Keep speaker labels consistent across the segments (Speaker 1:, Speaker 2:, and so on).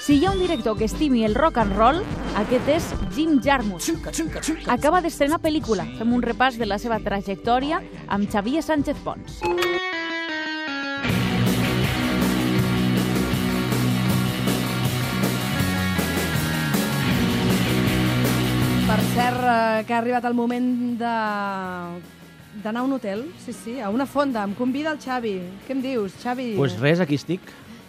Speaker 1: Si hi ha un director que estimi el rock and roll, aquest és Jim Jarmusch. Acaba d'estrenar pel·lícula. Fem un repàs de la seva trajectòria amb Xavier Sánchez Pons.
Speaker 2: Per cert, eh, que ha arribat el moment de d'anar a un hotel, sí, sí, a una fonda. Em convida el Xavi. Què em dius, Xavi?
Speaker 3: Doncs pues res, aquí estic.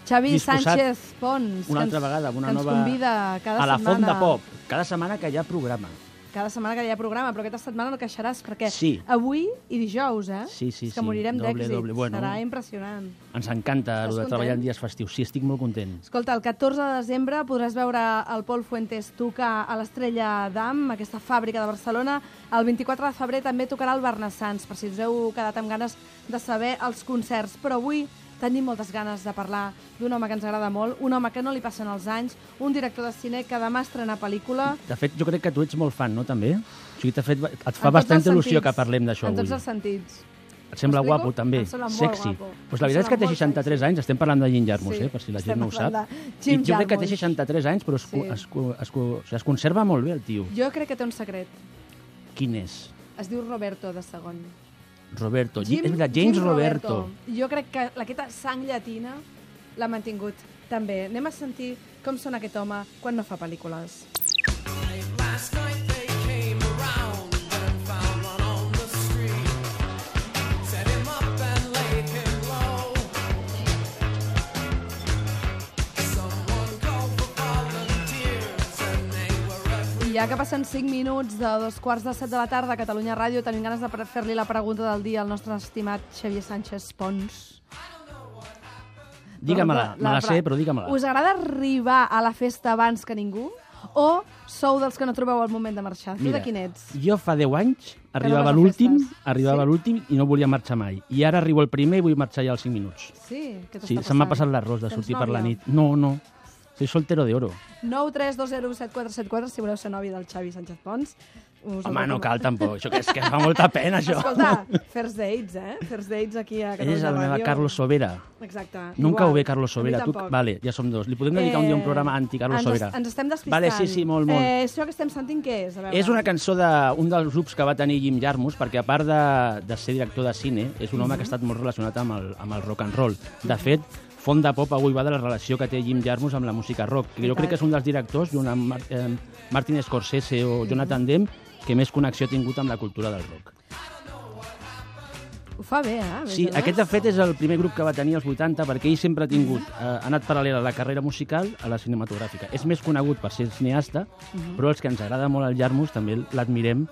Speaker 2: Xavi
Speaker 3: disposat
Speaker 2: Sánchez Pons.
Speaker 3: Una
Speaker 2: que
Speaker 3: altra
Speaker 2: ens-
Speaker 3: vegada, amb una
Speaker 2: que ens
Speaker 3: nova...
Speaker 2: convida cada
Speaker 3: a la
Speaker 2: setmana.
Speaker 3: Font de Pop. Cada setmana que hi ha programa.
Speaker 2: Cada setmana que hi ha programa, però aquesta setmana no queixaràs, perquè
Speaker 3: Sí.
Speaker 2: avui i dijous, eh?
Speaker 3: Sí, sí,
Speaker 2: És que
Speaker 3: sí.
Speaker 2: morirem
Speaker 3: Doble,
Speaker 2: d'èxit.
Speaker 3: doble. Bueno.
Speaker 2: Serà impressionant.
Speaker 3: Ens encanta
Speaker 2: Estàs
Speaker 3: el de
Speaker 2: content?
Speaker 3: treballar en dies festius. Sí, estic molt content.
Speaker 2: Escolta, el 14 de desembre podràs veure el Pol Fuentes tocar a l'Estrella d'Am, aquesta fàbrica de Barcelona. El 24 de febrer també tocarà el Bernassans, per si us heu quedat amb ganes de saber els concerts. Però avui tenim moltes ganes de parlar d'un home que ens agrada molt, un home que no li passen els anys, un director de cine que demà estrena pel·lícula...
Speaker 3: De fet, jo crec que tu ets molt fan, no, també? O sigui, t'ha fet, et
Speaker 2: En
Speaker 3: fa
Speaker 2: tots els
Speaker 3: bastant il·lusió
Speaker 2: sentits.
Speaker 3: que parlem d'això
Speaker 2: En
Speaker 3: avui.
Speaker 2: tots els sentits.
Speaker 3: Et sembla
Speaker 2: M'explico?
Speaker 3: guapo, també.
Speaker 2: Em sembla molt
Speaker 3: Sexy.
Speaker 2: guapo.
Speaker 3: Pues la
Speaker 2: Em
Speaker 3: veritat és que
Speaker 2: sembla
Speaker 3: té
Speaker 2: molt
Speaker 3: 63 anys, estem parlant de Jim Jarmusch,
Speaker 2: Sí,
Speaker 3: eh, per si la
Speaker 2: estem
Speaker 3: gent no ho sap.
Speaker 2: parlant de Jim
Speaker 3: I jo crec que té
Speaker 2: Jarmusch.
Speaker 3: 63 anys, però es, cu-
Speaker 2: Sí.
Speaker 3: es, cu- es, cu- o sigui, es conserva molt bé el tio.
Speaker 2: Jo crec que té un secret.
Speaker 3: Quin és?
Speaker 2: Es diu Roberto, de segon.
Speaker 3: Roberto. Jim, és veritat, James
Speaker 2: Jim
Speaker 3: Roberto.
Speaker 2: Jo crec que aquesta sang llatina l'ha mantingut també. Anem a sentir com sona aquest home quan no fa pel·lícules. I Ja que passen 5 minuts de dos quarts de 7 de la tarda a Catalunya Ràdio, tenim ganes de pre- fer-li la pregunta del dia al nostre estimat Xavier Sánchez Pons.
Speaker 3: Digue-me-la, me la sé, però digue-me-la.
Speaker 2: Us agrada arribar a la festa abans que ningú? O sou dels que no trobeu el moment de marxar? Tu de quin ets?
Speaker 3: Jo fa 10 anys
Speaker 2: vas
Speaker 3: arribava
Speaker 2: a
Speaker 3: l'últim,
Speaker 2: festes.
Speaker 3: arribava
Speaker 2: Sí?
Speaker 3: l'últim i no volia marxar mai. I ara arribo el primer i vull marxar ja als 5 minuts.
Speaker 2: Sí, què t'està
Speaker 3: Sí, se m'ha passat l'arròs de
Speaker 2: Tens
Speaker 3: sortir per la
Speaker 2: nòvia?
Speaker 3: nit. No, no. Soy soltero de oro.
Speaker 2: 932017474 si voleu ser nòvia del Xavi Sánchez Pons. Us ho
Speaker 3: Home, no
Speaker 2: recomano.
Speaker 3: cal tampoc. Això que és que fa molta pena, això.
Speaker 2: Escolta, first dates, eh? First dates aquí a
Speaker 3: Ell
Speaker 2: Catalunya
Speaker 3: és el meu
Speaker 2: Ràdio.
Speaker 3: Carlos Sobera.
Speaker 2: Exacte.
Speaker 3: Nunca ho
Speaker 2: igual.
Speaker 3: ve Carlos Sobera.
Speaker 2: A mi
Speaker 3: Tu,
Speaker 2: tampoc. Eh,
Speaker 3: vale, ja som dos. Li podem dedicar un dia un programa anti-Carlos
Speaker 2: ens,
Speaker 3: Sobera.
Speaker 2: Ens estem despistant.
Speaker 3: Vale, sí, sí, molt, molt.
Speaker 2: Eh, això que estem sentint què és? A veure.
Speaker 3: És una cançó d'un dels grups que va tenir Jim Jarmusch, perquè a part de, de ser director de cine, és un home que ha estat molt relacionat amb el, amb el rock and roll. De fet, Font de Pop avui va de la relació que té Jim Jarmusch amb la música rock, que jo crec que és un dels directors, junt amb Mar eh, Martin Scorsese o Jonathan Demme, que més connexió ha tingut amb la cultura del rock.
Speaker 2: Ho fa bé, eh? a més a
Speaker 3: Sí,
Speaker 2: més.
Speaker 3: aquest de fet és el primer grup que va tenir als 80 perquè ell sempre ha tingut, eh, ha anat paral·lel a la carrera musical a la cinematogràfica. És més conegut per ser cineasta,
Speaker 2: Mhm.
Speaker 3: però els que ens agrada molt el Jarmus també l'admirem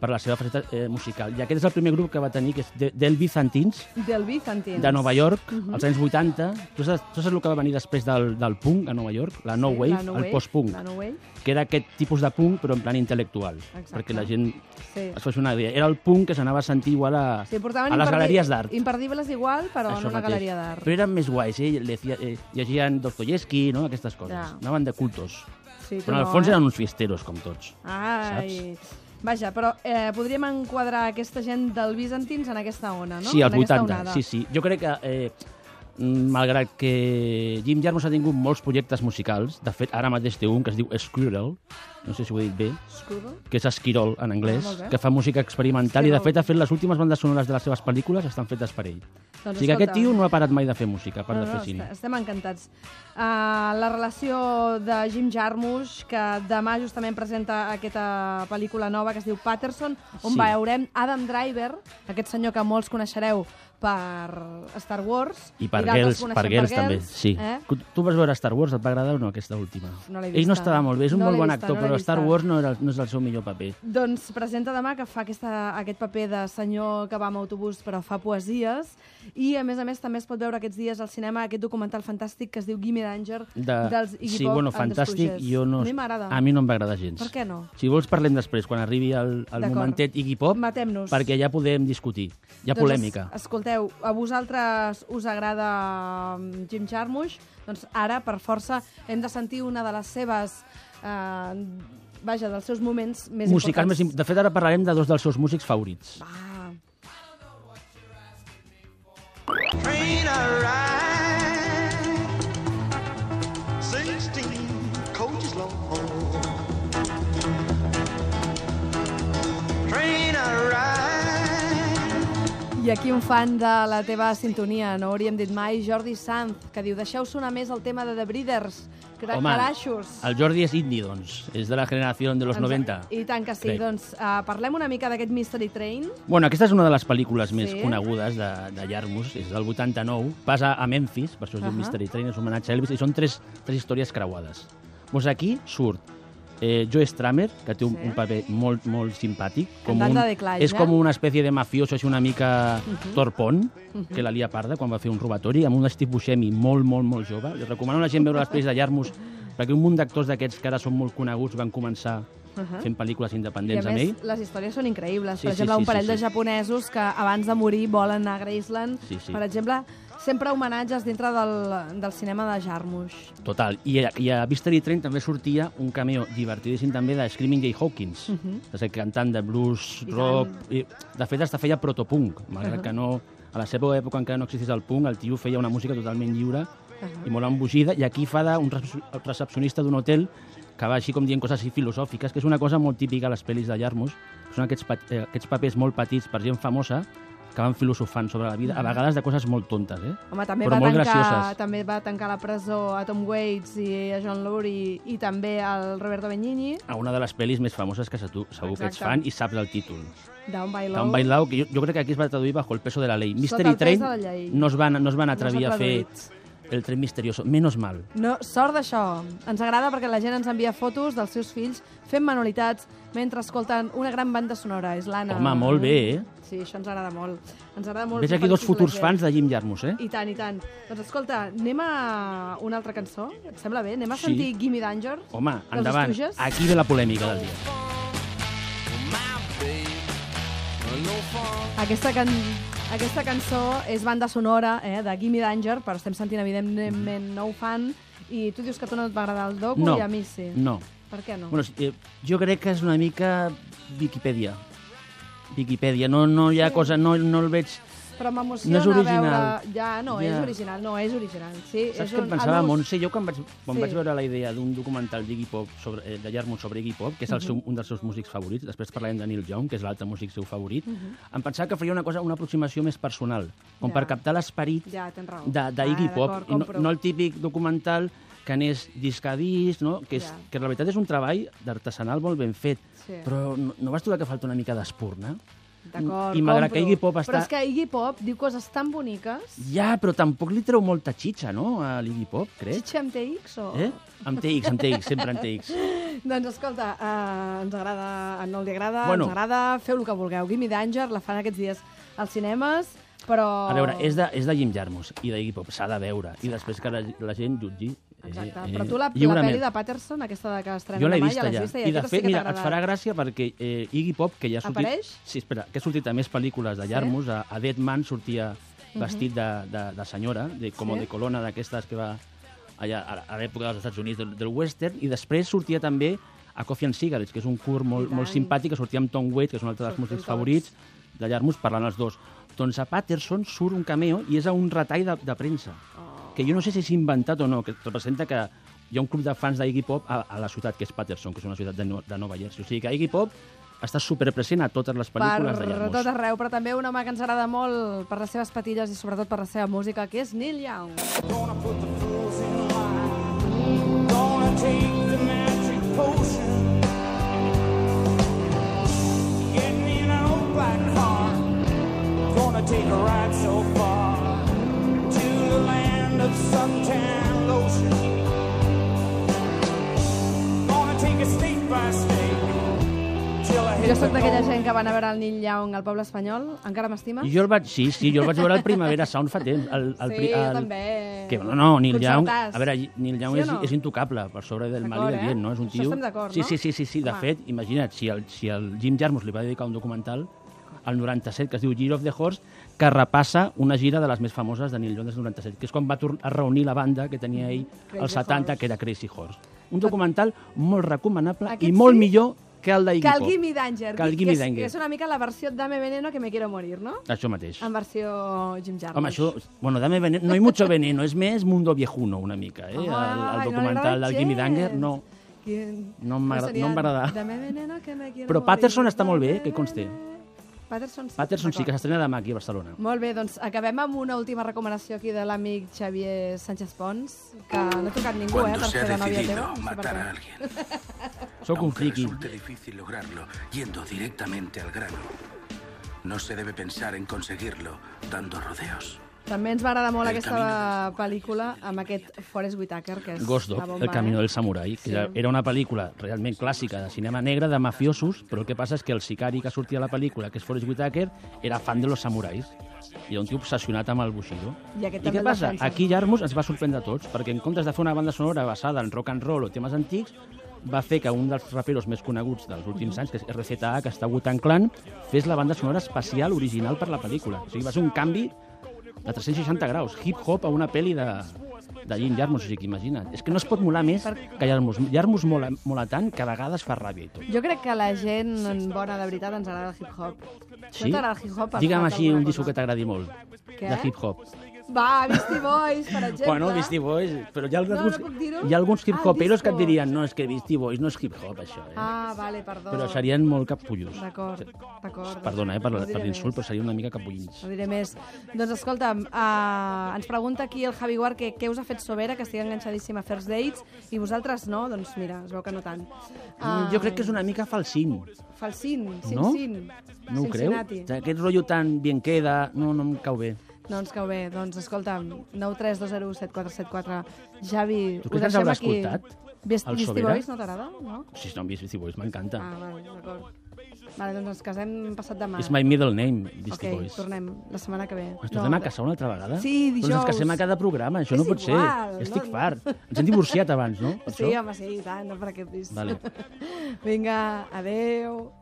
Speaker 3: per la seva faceta eh, musical. I aquest és el primer grup que va tenir, que és de- del Bizantins,
Speaker 2: Del Bizantins.
Speaker 3: de Nova York,
Speaker 2: Mhm.
Speaker 3: als anys 80. Tu saps, tu saps el que va venir després del, del punk a Nova York? La No
Speaker 2: Sí,
Speaker 3: Wave,
Speaker 2: la no
Speaker 3: el post-punk,
Speaker 2: La no wave,
Speaker 3: que era aquest tipus de punk, però en plan intel·lectual,
Speaker 2: Exacte.
Speaker 3: perquè la gent
Speaker 2: sí.
Speaker 3: es faci una idea. Era el punk que s'anava a sentir igual a,
Speaker 2: Sí, portaven
Speaker 3: a les
Speaker 2: imperdi-
Speaker 3: galeries d'art.
Speaker 2: Imperdibles igual, però
Speaker 3: Això
Speaker 2: en una
Speaker 3: mateix.
Speaker 2: galeria d'art.
Speaker 3: Però eren més guais, eh? Lecia, eh llegien Dostoyevsky, no? aquestes coses.
Speaker 2: Ja.
Speaker 3: Anaven de cultos.
Speaker 2: Sí, Ah, tu
Speaker 3: Però en el
Speaker 2: no,
Speaker 3: fons
Speaker 2: eh?
Speaker 3: eren uns fiesteros, com tots.
Speaker 2: Ai... Vaja, però eh, podríem enquadrar aquesta gent del Bizantins en aquesta ona, no?
Speaker 3: sí, als
Speaker 2: En aquesta
Speaker 3: 80.
Speaker 2: onada.
Speaker 3: Sí, sí. Jo crec que, eh, malgrat que Jim Jarmusch ha tingut molts projectes musicals, de fet, ara mateix té un que es diu Squirrel, no sé si ho he dit bé,
Speaker 2: Escudo?
Speaker 3: que és Esquirol en anglès,
Speaker 2: Ah, molt bé.
Speaker 3: que fa música experimental i, de
Speaker 2: Esquirol.
Speaker 3: fet, ha fet les últimes bandes sonores de les seves pel·lícules estan fetes per ell.
Speaker 2: Doncs
Speaker 3: o sigui que aquest
Speaker 2: escolta.
Speaker 3: tio no ha parat mai de fer música, a part
Speaker 2: No,
Speaker 3: de
Speaker 2: no,
Speaker 3: fer cine.
Speaker 2: est- estem encantats. Uh, la relació de Jim Jarmusch, que demà justament presenta aquesta pel·lícula nova que es diu Patterson, on
Speaker 3: Sí.
Speaker 2: veurem Adam Driver, aquest senyor que molts coneixereu per Star Wars.
Speaker 3: I per
Speaker 2: d'altres
Speaker 3: Girls,
Speaker 2: coneixem
Speaker 3: per Girls també, sí.
Speaker 2: Eh?
Speaker 3: Tu- Tu vas veure Star Wars, et va agradar o no aquesta última?
Speaker 2: No l'he
Speaker 3: Ell
Speaker 2: vista.
Speaker 3: no estava molt bé, és un
Speaker 2: No
Speaker 3: molt
Speaker 2: l'he
Speaker 3: bon
Speaker 2: vista,
Speaker 3: actor,
Speaker 2: no l'he
Speaker 3: però Star
Speaker 2: vista.
Speaker 3: Wars no, era, no és el seu millor paper.
Speaker 2: Doncs presenta demà que fa aquesta, aquest paper de senyor que va amb autobús però fa poesies i a més a més també es pot veure aquests dies al cinema aquest documental fantàstic que es diu Gimme Danger
Speaker 3: De-
Speaker 2: dels Iggy
Speaker 3: sí,
Speaker 2: Pop
Speaker 3: bueno,
Speaker 2: and the
Speaker 3: fantàstic,
Speaker 2: Stooges.
Speaker 3: jo no...
Speaker 2: A mi m'agrada.
Speaker 3: A mi no em va agradar gens.
Speaker 2: Per què no?
Speaker 3: Si vols parlem després, quan arribi el, el
Speaker 2: D'acord.
Speaker 3: momentet Iggy Pop,
Speaker 2: Matem-nos.
Speaker 3: perquè ja podem discutir. Hi ha
Speaker 2: Doncs
Speaker 3: polèmica.
Speaker 2: es- escolteu, a vosaltres us agrada mm, Jim Jarmusch? Doncs ara, per força, hem de sentir una de les seves... Eh, vaja, dels seus moments més
Speaker 3: Musical més...
Speaker 2: importants.
Speaker 3: im- De fet, ara parlarem de dos dels seus músics favorits.
Speaker 2: Ah,
Speaker 4: Train a ride. Sixteen coaches long. Train a ride.
Speaker 2: I aquí un fan de la teva sintonia, no ho hauríem dit mai, Jordi Sanz, que diu deixeu sonar més el tema de The Breeders, cra Caraixos.
Speaker 3: el Jordi és indie, doncs. És de la generació de los
Speaker 2: Ens-
Speaker 3: 90.
Speaker 2: Doncs, I tant que sí.
Speaker 3: Crec.
Speaker 2: Doncs uh, parlem una mica d'aquest Mystery Train.
Speaker 3: Bueno, aquesta és una de les pel·lícules més
Speaker 2: Sí.
Speaker 3: conegudes de, de Yarmus, és del 89, passa a Memphis, per això es diu
Speaker 2: Ahà.
Speaker 3: Mystery Train, és un homenatge a Elvis, i són tres, tres històries creuades. Doncs aquí surt eh, Joe Stramer, que té un,
Speaker 2: Sí.
Speaker 3: un paper molt, molt simpàtic.
Speaker 2: Cantant
Speaker 3: un,
Speaker 2: de The Clash,
Speaker 3: és
Speaker 2: ja. Mhm.
Speaker 3: com una espècie de mafioso, així una mica torpón, que la lia parda quan va fer un robatori, amb un Steve Buscemi molt, molt, molt jove. Jo recomano a la gent veure les pel·lis de Yarmus, perquè un munt d'actors d'aquests que ara són molt coneguts van començar fent pel·lícules
Speaker 2: I a
Speaker 3: independents amb ell.
Speaker 2: més, les històries són increïbles.
Speaker 3: Sí,
Speaker 2: per
Speaker 3: sí,
Speaker 2: exemple,
Speaker 3: sí,
Speaker 2: un parell
Speaker 3: sí, sí.
Speaker 2: de japonesos que abans de morir volen anar a Graceland.
Speaker 3: Sí, sí.
Speaker 2: Per exemple, sempre homenatges dintre del, del cinema de Jarmusch.
Speaker 3: Total. I, a- i a Mystery Train també sortia un cameo divertidíssim també de Screaming Jay Hawkins, uh -huh. és el cantant de blues,
Speaker 2: I
Speaker 3: rock... I, de fet, hasta feia protopunk, malgrat uh -huh. que no... A la seva època encara no existís el punk, el tio feia una música totalment lliure uh -huh. i molt embogida, i aquí fa d'un recepcionista d'un hotel que va així com dient coses així filosòfiques, que és una cosa molt típica a les pel·lis de Yarmus, que són aquests, pa- eh, aquests papers molt petits per gent famosa que van filosofant sobre la vida, a vegades de coses molt tontes, eh?
Speaker 2: Home, també va,
Speaker 3: Però molt
Speaker 2: tancar,
Speaker 3: gracioses.
Speaker 2: també va tancar la presó a Tom Waits i a John Lurie i també al Roberto Benigni
Speaker 3: a una de les pel·lis més famoses que se- tu segur que ets
Speaker 2: Exacte.
Speaker 3: fan i saps el títol.
Speaker 2: d'On by Law.
Speaker 3: Down by Law, que jo, jo crec que aquí es va traduir bajo el peso de la ley. Mystery
Speaker 2: el pes
Speaker 3: Train
Speaker 2: de la llei.
Speaker 3: no es van, no es van
Speaker 2: No s'ha
Speaker 3: atrevir a fer
Speaker 2: traduït.
Speaker 3: el tren misterioso. Menos mal.
Speaker 2: No, sort d'això. Ens agrada perquè la gent ens envia fotos dels seus fills fent manualitats mentre escolten una gran banda sonora. És l'Anna.
Speaker 3: Home, molt bé, eh?
Speaker 2: Sí, això ens agrada molt. Ens agrada molt.
Speaker 3: Ves aquí dos
Speaker 2: Felicito la
Speaker 3: futurs
Speaker 2: gent.
Speaker 3: fans de Jim Jarmus, eh?
Speaker 2: I tant, i tant. Doncs escolta, anem a una altra cançó? Et sembla bé? Anem a
Speaker 3: Sí.
Speaker 2: sentir Gimme Danger?
Speaker 3: Home,
Speaker 2: dels
Speaker 3: endavant.
Speaker 2: Stooges?
Speaker 3: Aquí ve la polèmica del dia.
Speaker 4: My babe, no fun.
Speaker 2: Aquesta, can... Aquesta cançó és banda sonora eh, de Gimme Danger, però estem sentint, evidentment, no fan. I tu dius que a tu no et va agradar el docu
Speaker 3: Mm. No,
Speaker 2: i a mi sí.
Speaker 3: no.
Speaker 2: Per què no?
Speaker 3: Bueno, sí, eh, jo crec que és una mica Viquipèdia. Viquipèdia. No, no hi ha cosa... No, no el veig...
Speaker 2: Però m'emociona
Speaker 3: No és original.
Speaker 2: veure... Ja, no, ja.
Speaker 3: Ja.
Speaker 2: és original, no, és original. Sí,
Speaker 3: Saps
Speaker 2: és
Speaker 3: què
Speaker 2: un...
Speaker 3: em pensava,
Speaker 2: el nus-
Speaker 3: Montse? Jo quan vaig, quan
Speaker 2: Sí.
Speaker 3: sí. vaig veure la idea d'un documental d'Iggy Pop, sobre, eh, de Jarmuth sobre Iggy Pop, que és el seu, un dels seus músics favorits, després parlarem de Neil Young, que és l'altre músic seu favorit, em pensava que faria una cosa, una aproximació més personal, com
Speaker 2: Ja.
Speaker 3: per captar l'esperit
Speaker 2: Ja, tens raó.
Speaker 3: de- d'Iggy
Speaker 2: Ah,
Speaker 3: Pop,
Speaker 2: d'acord,
Speaker 3: i no,
Speaker 2: compro.
Speaker 3: no el típic documental que anés disc a disc, no? que, és,
Speaker 2: Ja.
Speaker 3: que la veritat és un treball d'artesanal molt ben fet,
Speaker 2: Sí.
Speaker 3: però no, no vas trobar que falta una mica d'espurna?
Speaker 2: D'acord,
Speaker 3: I
Speaker 2: compro.
Speaker 3: malgrat que Iggy Pop està...
Speaker 2: Però és que Iggy Pop diu coses tan boniques...
Speaker 3: Ja, però tampoc li treu molta xitxa, no?, a l'Iggy Pop, crec.
Speaker 2: Xitxa amb TX o...
Speaker 3: Eh? Amb TX, amb TX, sempre amb TX.
Speaker 2: Doncs escolta, eh, ens agrada, no li agrada,
Speaker 3: Bueno.
Speaker 2: ens agrada, feu el que vulgueu. Gimme Danger, la fan aquests dies als cinemes, però...
Speaker 3: A veure, és de, és de Jim Jarmus i de Iggy Pop, s'ha de veure. I després que la, la gent jutgi. eh,
Speaker 2: Exacte,
Speaker 3: eh,
Speaker 2: però tu la, la
Speaker 3: lliurement.
Speaker 2: pel·li de Patterson, aquesta de que estrena
Speaker 3: Jo l'he
Speaker 2: demà,
Speaker 3: vista
Speaker 2: ja l'has
Speaker 3: ja.
Speaker 2: vista
Speaker 3: I de
Speaker 2: aquesta
Speaker 3: fet,
Speaker 2: sí que
Speaker 3: mira,
Speaker 2: t'ha
Speaker 3: et farà gràcia perquè eh, Iggy Pop, que ja ha sortit...
Speaker 2: Apareix?
Speaker 3: Sí, espera, que ha sortit a més pel·lícules de Jarmus, a, a Dead Man sortia vestit de, de, de senyora, de, com
Speaker 2: Sí.
Speaker 3: de colona d'aquestes que va allà a, a l'època dels Estats Units del, del western, i després sortia també a Coffee and Cigarettes, que és un curt molt,
Speaker 2: I
Speaker 3: molt
Speaker 2: tant.
Speaker 3: simpàtic, que sortia amb Tom Waits, que és un altre dels
Speaker 2: Surten
Speaker 3: músics
Speaker 2: tots.
Speaker 3: favorits de Jarmus, parlant els dos. Doncs a Patterson surt un cameo i és a un retall de, de premsa,
Speaker 2: Oh.
Speaker 3: que jo no sé si és inventat o no, que representa que hi ha un club de fans d'Iggy Pop a, a la ciutat, que és Patterson, que és una ciutat de, no, de Nova Jersey. O sigui que Iggy Pop està superpresent a totes les pel·lícules
Speaker 2: per
Speaker 3: de
Speaker 2: tot
Speaker 3: Jarmus.
Speaker 2: arreu, però també un home que ens agrada molt per les seves patilles i sobretot per la seva música, que és Neil Young.
Speaker 4: Gonna put the fools in line. Gonna take the magic potion. Get me an old black car. Gonna take a ride so far to the land of suntan lotion. Gonna take it state by state till I hit
Speaker 2: Jo
Speaker 4: the
Speaker 2: sóc d'aquella gent que van a veure el Neil Young al poble espanyol, encara m'estima?
Speaker 3: I jo el vaig, sí, sí, jo el vaig veure al Primavera Sound fa temps. El, el,
Speaker 2: Sí,
Speaker 3: pri-
Speaker 2: jo
Speaker 3: el,
Speaker 2: també.
Speaker 3: Que, no, no, Neil Young,
Speaker 2: Concertàs.
Speaker 3: a veure, Neil Young
Speaker 2: Eh, Sí o
Speaker 3: és,
Speaker 2: no?
Speaker 3: és intocable per sobre del mal i
Speaker 2: D'acord,
Speaker 3: del bien,
Speaker 2: eh?
Speaker 3: no? És un
Speaker 2: Això
Speaker 3: tio...
Speaker 2: estem d'acord,
Speaker 3: sí,
Speaker 2: no?
Speaker 3: Sí, sí, sí, sí. de
Speaker 2: Home.
Speaker 3: fet, imagina't, si el, si el Jim Jarmus li va dedicar un documental al 97, que es diu Year of the Horse, que repassa una gira de les més famoses de Neil Young des del 97, que és quan va tornar a reunir la banda que tenia ell
Speaker 2: Mm, Crazy
Speaker 3: als 70,
Speaker 2: Horse.
Speaker 3: que era Crazy Horse. Un documental molt recomanable
Speaker 2: Aquest
Speaker 3: i molt
Speaker 2: sí?
Speaker 3: millor Cal Dainko.
Speaker 2: Que el Gimme Danger,
Speaker 3: Que el
Speaker 2: que
Speaker 3: Gimme
Speaker 2: és,
Speaker 3: Danger.
Speaker 2: que és una mica la versió Dame Veneno que me quiero morir, no?
Speaker 3: Això mateix.
Speaker 2: En versió Jim Jarmusch.
Speaker 3: Home, això... Bueno, dame veneno, no hi mucho veneno, és més Mundo Viejuno, una mica, eh? El, el
Speaker 2: Ai, no
Speaker 3: documental
Speaker 2: m'agrada
Speaker 3: del Gimme
Speaker 2: gens.
Speaker 3: Danger, no.
Speaker 2: Quin-
Speaker 3: No m'agrada-
Speaker 2: seria
Speaker 3: no em va agradar.
Speaker 2: Dame veneno que me quiero
Speaker 3: Però Patterson
Speaker 2: morir,
Speaker 3: està molt bé,
Speaker 2: dame
Speaker 3: que consti.
Speaker 2: veneno. Patterson sí.
Speaker 3: Patterson sí que
Speaker 2: d'acord.
Speaker 3: s'estrena demà aquí a Barcelona.
Speaker 2: Molt bé, doncs acabem amb una última recomanació aquí de l'amic Xavier Sánchez Pons, que no ha tocat ningú, eh,
Speaker 5: Cuando
Speaker 2: per
Speaker 5: se ha
Speaker 2: fer de nòvia teva.
Speaker 5: decidido
Speaker 2: No sé per
Speaker 5: matar
Speaker 2: què.
Speaker 5: a alguien,
Speaker 3: Sóc un
Speaker 5: aunque
Speaker 3: friki.
Speaker 5: resulte difícil lograrlo yendo directamente al grano, no se debe pensar en conseguirlo dando rodeos.
Speaker 2: També ens va agradar molt
Speaker 5: El
Speaker 2: aquesta
Speaker 5: camino del
Speaker 2: pel·lícula amb aquest Forrest Whitaker, que és
Speaker 3: Ghost Dog,
Speaker 2: la bomba,
Speaker 3: El camino
Speaker 2: eh?
Speaker 3: del samurai, que
Speaker 2: Sí.
Speaker 3: era- era una pel·lícula realment clàssica de cinema negre, de mafiosos, però el que passa és que el sicari que sortia a la pel·lícula, que és Forrest Whitaker, era fan de los samurais i era un tio obsessionat amb el Bushido.
Speaker 2: I aquest
Speaker 3: I
Speaker 2: també
Speaker 3: què
Speaker 2: el
Speaker 3: passa?
Speaker 2: defensa.
Speaker 3: Aquí Jarmus ens va sorprendre a tots, perquè en comptes de fer una banda sonora basada en rock and roll o temes antics, va fer que un dels raperos més coneguts dels últims anys, que és RZA, que està a Wu-Tang Clan, fes la banda sonora especial original per la pel·lícula. O sigui, va ser un canvi de 360 graus, hip-hop a una pel·li de, de Jim Jarmus, o sigui, imagina't. És que no es pot molar més que Jarmus. Jarmus mola, mola tant que a vegades fa ràbia i tot.
Speaker 2: Jo crec que la gent bona de veritat ens agrada el hip-hop. No t'agrada el hip-hop? Has
Speaker 3: Digue'm
Speaker 2: escoltat
Speaker 3: així
Speaker 2: alguna
Speaker 3: un disco
Speaker 2: cosa?
Speaker 3: que t'agradi molt,
Speaker 2: Què?
Speaker 3: de hip-hop.
Speaker 2: Va, Beastie Boys, per exemple.
Speaker 3: Bueno, Beastie Boys, però hi ha
Speaker 2: no
Speaker 3: alguns,
Speaker 2: puc dir-ho?
Speaker 3: hi ha alguns
Speaker 2: Ah,
Speaker 3: hip-hoperos que et
Speaker 2: disco.
Speaker 3: dirien no, és que Beastie Boys no és hip-hop, això. Eh?
Speaker 2: Ah, vale, perdó.
Speaker 3: Però serien molt capullos.
Speaker 2: D'acord, d'acord.
Speaker 3: Perdona, eh, per,
Speaker 2: No
Speaker 3: la-
Speaker 2: diré
Speaker 3: per l'insult,
Speaker 2: més.
Speaker 3: però serien una mica capullins.
Speaker 2: No diré més. Doncs escolta'm, uh, ens pregunta aquí el Javi Guar que què us ha fet Sobera, que estigui enganxadíssim a First Dates, i vosaltres no? Doncs mira, es veu que no tant. Ah.
Speaker 3: Mm, Jo crec que és una mica falsin.
Speaker 2: Falsin, sin,
Speaker 3: No?
Speaker 2: sin.
Speaker 3: No ho creu?
Speaker 2: Cincinnati.
Speaker 3: Aquest rotllo tan bien queda, no, no em cau bé.
Speaker 2: No ens cau bé. Doncs escolta'm, 932017474. Javi,
Speaker 3: Tu
Speaker 2: ho
Speaker 3: creus que ens
Speaker 2: deixem
Speaker 3: haurà
Speaker 2: aquí.
Speaker 3: escoltat,
Speaker 2: Best,
Speaker 3: el
Speaker 2: Beastie
Speaker 3: Sobera?
Speaker 2: Boys no t'agrada? No?
Speaker 3: Si no, Beastie Boys m'encanta.
Speaker 2: Ah, vale, d'acord. Vale, doncs ens casem passat demà.
Speaker 3: És my middle name, Beastie
Speaker 2: ok,
Speaker 3: Boys.
Speaker 2: tornem la setmana que ve.
Speaker 3: Ens tornem a casar una altra vegada?
Speaker 2: Sí, dijous.
Speaker 3: Però ens casem a cada programa, això
Speaker 2: És
Speaker 3: no pot
Speaker 2: igual,
Speaker 3: ser.
Speaker 2: no?
Speaker 3: Estic fart. Ens hem divorciat abans, no? Per
Speaker 2: Sí,
Speaker 3: això?
Speaker 2: home, sí, i tant, no per aquest disc.
Speaker 3: Vale.
Speaker 2: Vinga, adeu.